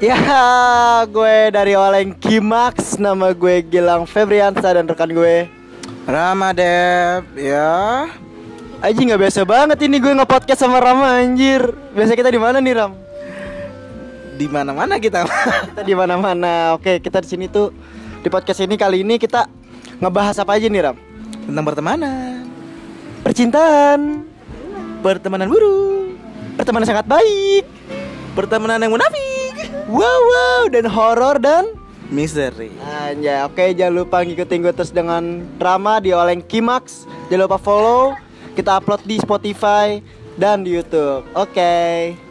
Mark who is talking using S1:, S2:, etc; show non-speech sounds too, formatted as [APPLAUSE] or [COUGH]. S1: Ya, gue dari Oleng Kimax, nama gue Gilang Febriansa dan rekan gue.
S2: Ramadep ya
S1: Aji nggak biasa banget ini gue nge-podcast sama Rama anjir. Biasa kita di mana nih Ram?
S2: di mana mana kita [LAUGHS]
S1: Kita di mana-mana. Oke, kita di sini tuh di podcast ini kali ini kita ngebahas apa aja nih Ram?
S2: tentang pertemanan
S1: Percintaan,
S2: pertemanan buruk
S1: pertemanan sangat baik,
S2: pertemanan yang munafik
S1: wow wow dan horor dan
S2: misteri
S1: Anjay, oke jangan lupa ngikutin gue terus dengan Rama di Oleng Kimax Jangan lupa follow, kita upload di Spotify dan di Youtube Oke